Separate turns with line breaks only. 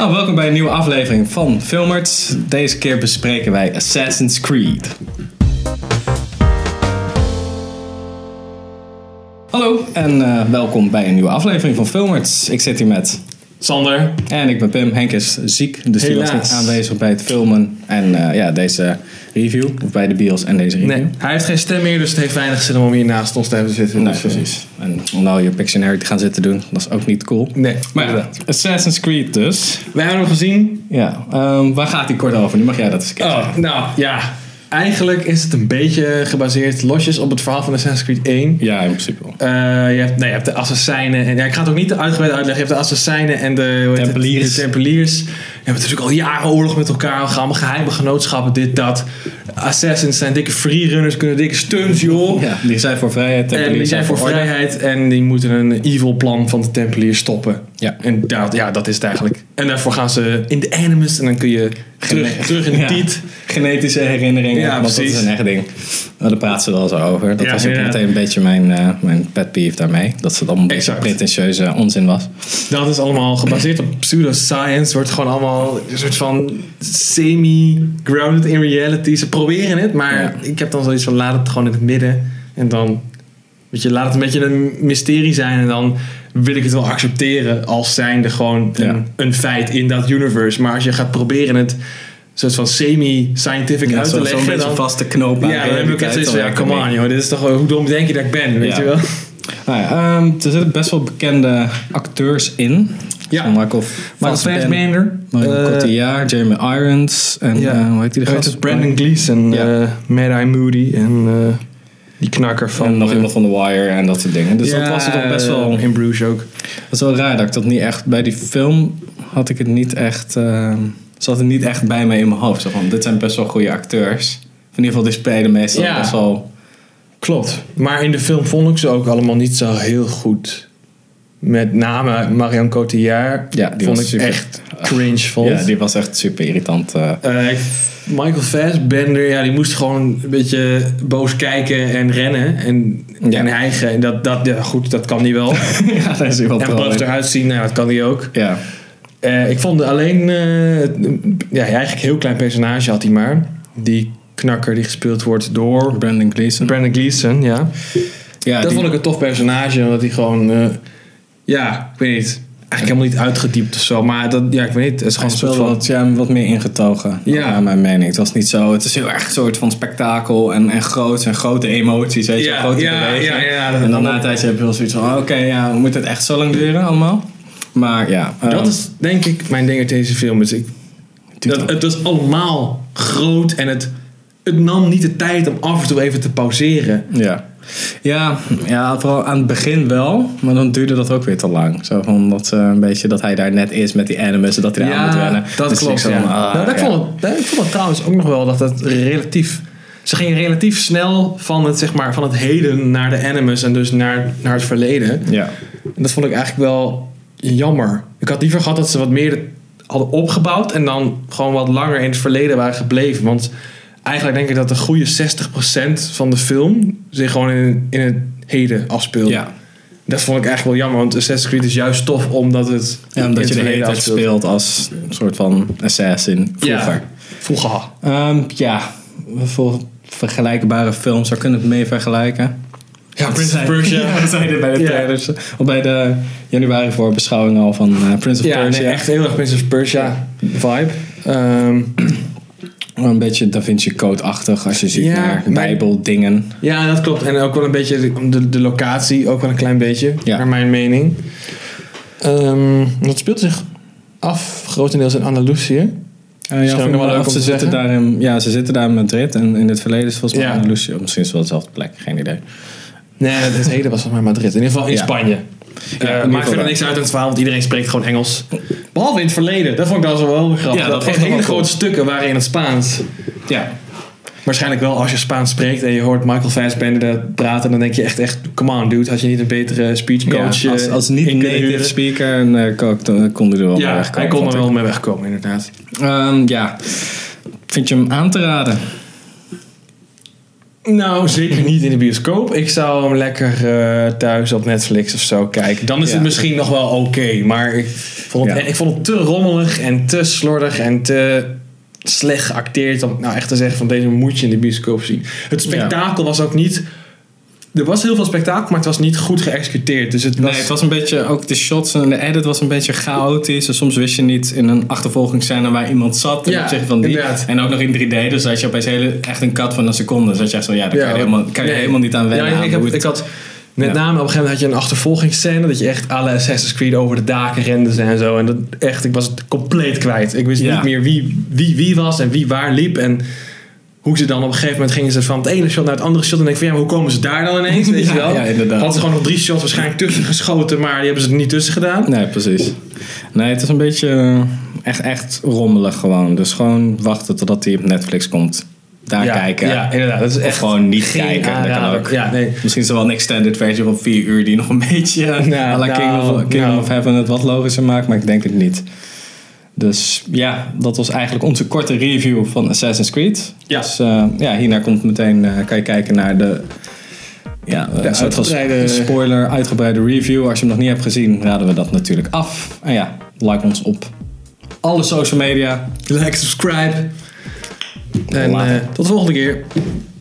Nou, welkom bij een nieuwe aflevering van Filmert. Deze keer bespreken wij Assassin's Creed. Hallo en eh, welkom bij een nieuwe aflevering van Filmert. Ik zit hier met
Sander.
en ik ben Pim. Henk is ziek, dus die was
Helaas.
niet aanwezig bij het filmen en eh, ja, deze review, of bij de bios en deze review. Nou,
Nee, hij heeft geen stem meer, dus het heeft weinig zin om hem hier naast ons te hebben zitten.
Nee,
Dus, eh,
precies. En om nou je Pictionary te gaan zitten doen, dat is ook niet cool.
Nee,
Maar ja, Assassin's Creed dus.
Wij hebben hem gezien.
Ja, ehm, waar gaat die kort over? Nu mag jij dat eens kijken.
Oh, nou ja. Eigenlijk is het een beetje gebaseerd losjes op het verhaal van Assassin's Creed 1.
Ja, in principe wel.
Eh, je, hebt, nee, je hebt de assassijnen. En, ja, ik ga het ook niet uitgebreid uitleggen. Je hebt de assassijnen en de hoe heet het?
Tempeliers.
De tempeliers. Je hebt natuurlijk al jaren oorlog met elkaar. We gaan allemaal geheime genootschappen, dit, dat. Assassins zijn dikke freerunners, kunnen dikke stunts, joh.
Ja, die zijn voor vrijheid.
En die zijn voor
orde.
vrijheid en die moeten een evil plan van de Tempeliers stoppen.
Ja.
En daar, ja, dat is het eigenlijk. En daarvoor gaan ze in de Animus en dan kun je terug,
Gene-
terug in de
Ja.
tiet.
Genetische herinneringen,
Ja,
want dat
precies.
is een echt ding. Nou, daar praten ze wel zo over. Dat
Ja,
was ook
inderdaad.
meteen een beetje mijn, eh, mijn pet peeve daarmee. Dat het allemaal een beetje
Exact.
pretentieuze onzin was.
Dat is allemaal gebaseerd op pseudoscience. Wordt gewoon allemaal een soort van semi-grounded in reality. Ze proberen het, maar
Ja.
ik heb dan zoiets van laat het gewoon in het midden. En dan, weet je, laat het een beetje een mysterie zijn. En dan wil ik het wel accepteren als zijnde gewoon een,
Ja.
een feit in dat universe. Maar als je gaat proberen het soort van semi-scientific
Ja,
uit te
zo-
leggen.
Zo'n beetje
dan,
vast te knopen. aan
ja, dan heb ik
realiteit,
het zoiets
dan
van, ja,
werkt het
come
niet.
on joh, dit is toch wel- hoe dom denk je dat ik ben, weet
Ja.
je wel?
Nou ja, ehm, er zitten best wel bekende acteurs in.
Ja.
Zo'n Michael
Maar
Fassbender,
Eh,
Michael Cotillard, Jeremy Irons en
ja.
eh, hoe heet die de
Hoe heet
gast?
het? Brandon Gleeson,
Ja.
eh, Mad-Eye Moody en eh, die knakker van...
en nog
eh,
iemand van The Wire en dat soort dingen. Dus dat
ja,
was het toch best wel
In Bruges ook.
Dat is wel raar dat ik dat niet echt... Bij die film had ik het niet echt... ehm, zat het niet echt bij mij in mijn hoofd. Zo van, dit zijn best wel goede acteurs. Of in ieder geval, die spelen meestal
Ja.
best wel...
Klopt. Maar in de film vond ik ze ook allemaal niet zo heel goed. Met name Marion Cotillard
Ja, die
vond
was
ik
super.
echt cringe vond.
Ja, die was echt super irritant. eh.
Eh, ik- Michael Fassbender, ja, die moest gewoon een beetje boos kijken en rennen. En,
Ja.
en hijgen. Dat, dat, ja, goed, dat kan hij wel.
ja, daar is hij wel
en
trots
boos
op.
eruit zien, nou, dat kan hij ook.
Ja,
Eh, ik vond alleen, eh, het- ja, eigenlijk een heel klein personage had hij maar. Die knakker die gespeeld wordt door
Brandon Gleeson.
Brandon Gleeson, ja.
Ja,
dat
die-
vond ik een tof personage, omdat hij gewoon, eh, ja, ik weet niet, eigenlijk helemaal niet uitgediept of zo. Maar dat, ja, ik weet niet, het is
Hij
gewoon een soort
speelde
van...
wat, ja, wat meer ingetogen,
Ja.
naar mijn mening. Het was niet zo... Het is heel erg een soort van spektakel en, en groot en grote emoties, weet je,
Ja,
grote
ja,
bewegingen.
ja, ja, dat-
en dan na een tijdje heb je wel zoiets van... oh, Oké, ja, moet het echt zo lang duren allemaal? Maar ja...
eh, Dat
ehm,
is denk ik mijn ding uit deze film. Dus ik, dat, het was allemaal groot en het, het nam niet de tijd om af en toe even te pauzeren.
Ja. Ja, ja, vooral aan het begin wel, maar dan duurde dat ook weer te lang. Zo van dat, eh, een beetje dat hij daar net is met die animus en dat hij daar aan moet wennen.
Dat
Dus ik
klopt.
zo
Ja.
van, ah,
nou, dat
ja.
vond ik, dat- ik vond het trouwens ook nog wel dat het relatief. Ze gingen relatief snel van het, zeg maar, van het heden naar de animus en dus naar, naar het verleden.
Ja.
En dat vond ik eigenlijk wel jammer. Ik had liever gehad dat ze wat meer hadden opgebouwd en dan gewoon wat langer in het verleden waren gebleven. Want eigenlijk denk ik dat de goede 60% van de film zich gewoon in, in het heden afspeelt.
Ja.
Dat vond ik eigenlijk wel jammer, want Assassin's Creed is juist tof omdat het.
ja,
in
omdat
het
je de hele
verleden
tijd
afspeelt.
speelt als een soort van assassin vroeger.
Ja, vroeger.
Ja, ja voor vergelijkbare films, waar kunnen we het mee vergelijken?
Ja,
Prince
Prince
of
of
Ja, we
Persia.
zeiden bij de
Ja.
trailers, of bij de januari voorbeschouwing al van eh, Prince of
Ja, nee,
Persia.
echt heel erg Prince of Persia vibe. Ehm,
Een beetje Da Vinci Code-achtig als je ziet
Ja,
naar
maar-
bijbeldingen.
ja, dat klopt. En ook wel een beetje de- de, de locatie, ook wel een klein beetje,
Ja.
naar mijn mening. Ehm dat speelt zich af, grotendeels in Andalusië.
Eh, ja,
Misschien ook
vind ik
nog wel
wel
leuk
leuk
om
ze
te
zitten
zeggen.
daar in, Ja, ze zitten daar in Madrid en in het verleden is volgens mij
Ja.
Andalusië. of Misschien is het wel dezelfde plek, geen idee.
Nee, het heden was volgens mij Madrid. In ieder geval in
Ja.
Spanje.
in ieder
Eh
geval
maakt verder
wel.
niks uit aan het verhaal, want iedereen spreekt gewoon Engels. Behalve in het verleden. Dat vond ik dan zo wel weer grappig.
Ja, dat vond ik
echt
wel
hele
cool.
grote stukken waren in het Spaans.
Ja,
Waarschijnlijk wel als je Spaans spreekt en je hoort Michael Fassbender dat praten, dan denk je echt, echt come on dude, had je niet een betere speechcoach
ja, als,
eh,
als
in kunnen
niet-native
huren?
speaker en, eh, kon, ik- kon hij er wel mee
Ja,
wegkomen,
hij kon
vond
er
ik.
wel mee wegkomen inderdaad.
Ehm, ja, vind je hem aan te raden?
Nou, zeker niet in de bioscoop. Ik zou hem lekker eh, thuis op Netflix of zo kijken. Dan is
Ja.
het misschien nog wel oké. maar ik vond, het, e-
Ja.
ik vond het te rommelig en te slordig en te slecht geacteerd. Om nou echt te zeggen van deze moet je in de bioscoop zien. Het spektakel was ook niet... Er was heel veel spektakel, maar het was niet goed geëxecuteerd. Dus het was...
Nee, het was een beetje, ook de shots en de edit was een beetje chaotisch. En soms wist je niet in een achtervolgingsscène waar iemand zat. Ten
Ja,
opzichte van die.
inderdaad.
En ook nog in 3D, dus had je opeens hele, echt een kat van een seconde. Dus dat je echt zo, ja, daar
Ja,
kan je,
wat-
helemaal, kan je
nee.
helemaal niet aan wennen.
Ja,
aan
ik, heb,
hoe het-
ik had met
Ja.
name op een gegeven moment had je een achtervolgingsscène dat je echt alle Assassin's Creed over de daken rende en zo. En dat echt, ik was het compleet kwijt. Ik wist
Ja.
niet meer wie, wie wie was en wie waar liep en hoe ze dan op een gegeven moment gingen ze van het ene shot naar het andere shot en denk ik van ja, maar hoe komen ze daar dan ineens? Weet
Ja,
je wel?
ja, inderdaad.
Hadden ze gewoon nog drie shots waarschijnlijk tussen geschoten, maar die hebben ze er niet tussen gedaan.
Nee, precies. Nee, het is een beetje eh, echt, echt rommelig gewoon. Dus gewoon wachten totdat hij op Netflix komt. Daar
ja,
kijken.
Ja, inderdaad. Dat is
Of
echt
gewoon niet
geen
kijken. Dat kan
aanrader.
ook.
Ja, nee.
Misschien is er wel een extended versie van 4 uur die nog een beetje eh,
Nou,
à la Kingdom,
nou,
of, Kingdom
nou.
of Heaven het wat logischer maakt, maar ik denk het niet. Dus ja, dat was eigenlijk onze korte review van Assassin's Creed.
Ja.
Dus eh, ja, hierna komt meteen, eh, kan je kijken naar de, ja, eh,
De
een soort van
uitgebreide-
spoiler, uitgebreide review. Als je hem nog niet hebt gezien, raden we dat natuurlijk af. En ja, like ons op alle social media.
Like, subscribe. En
Later.
eh, tot de volgende keer.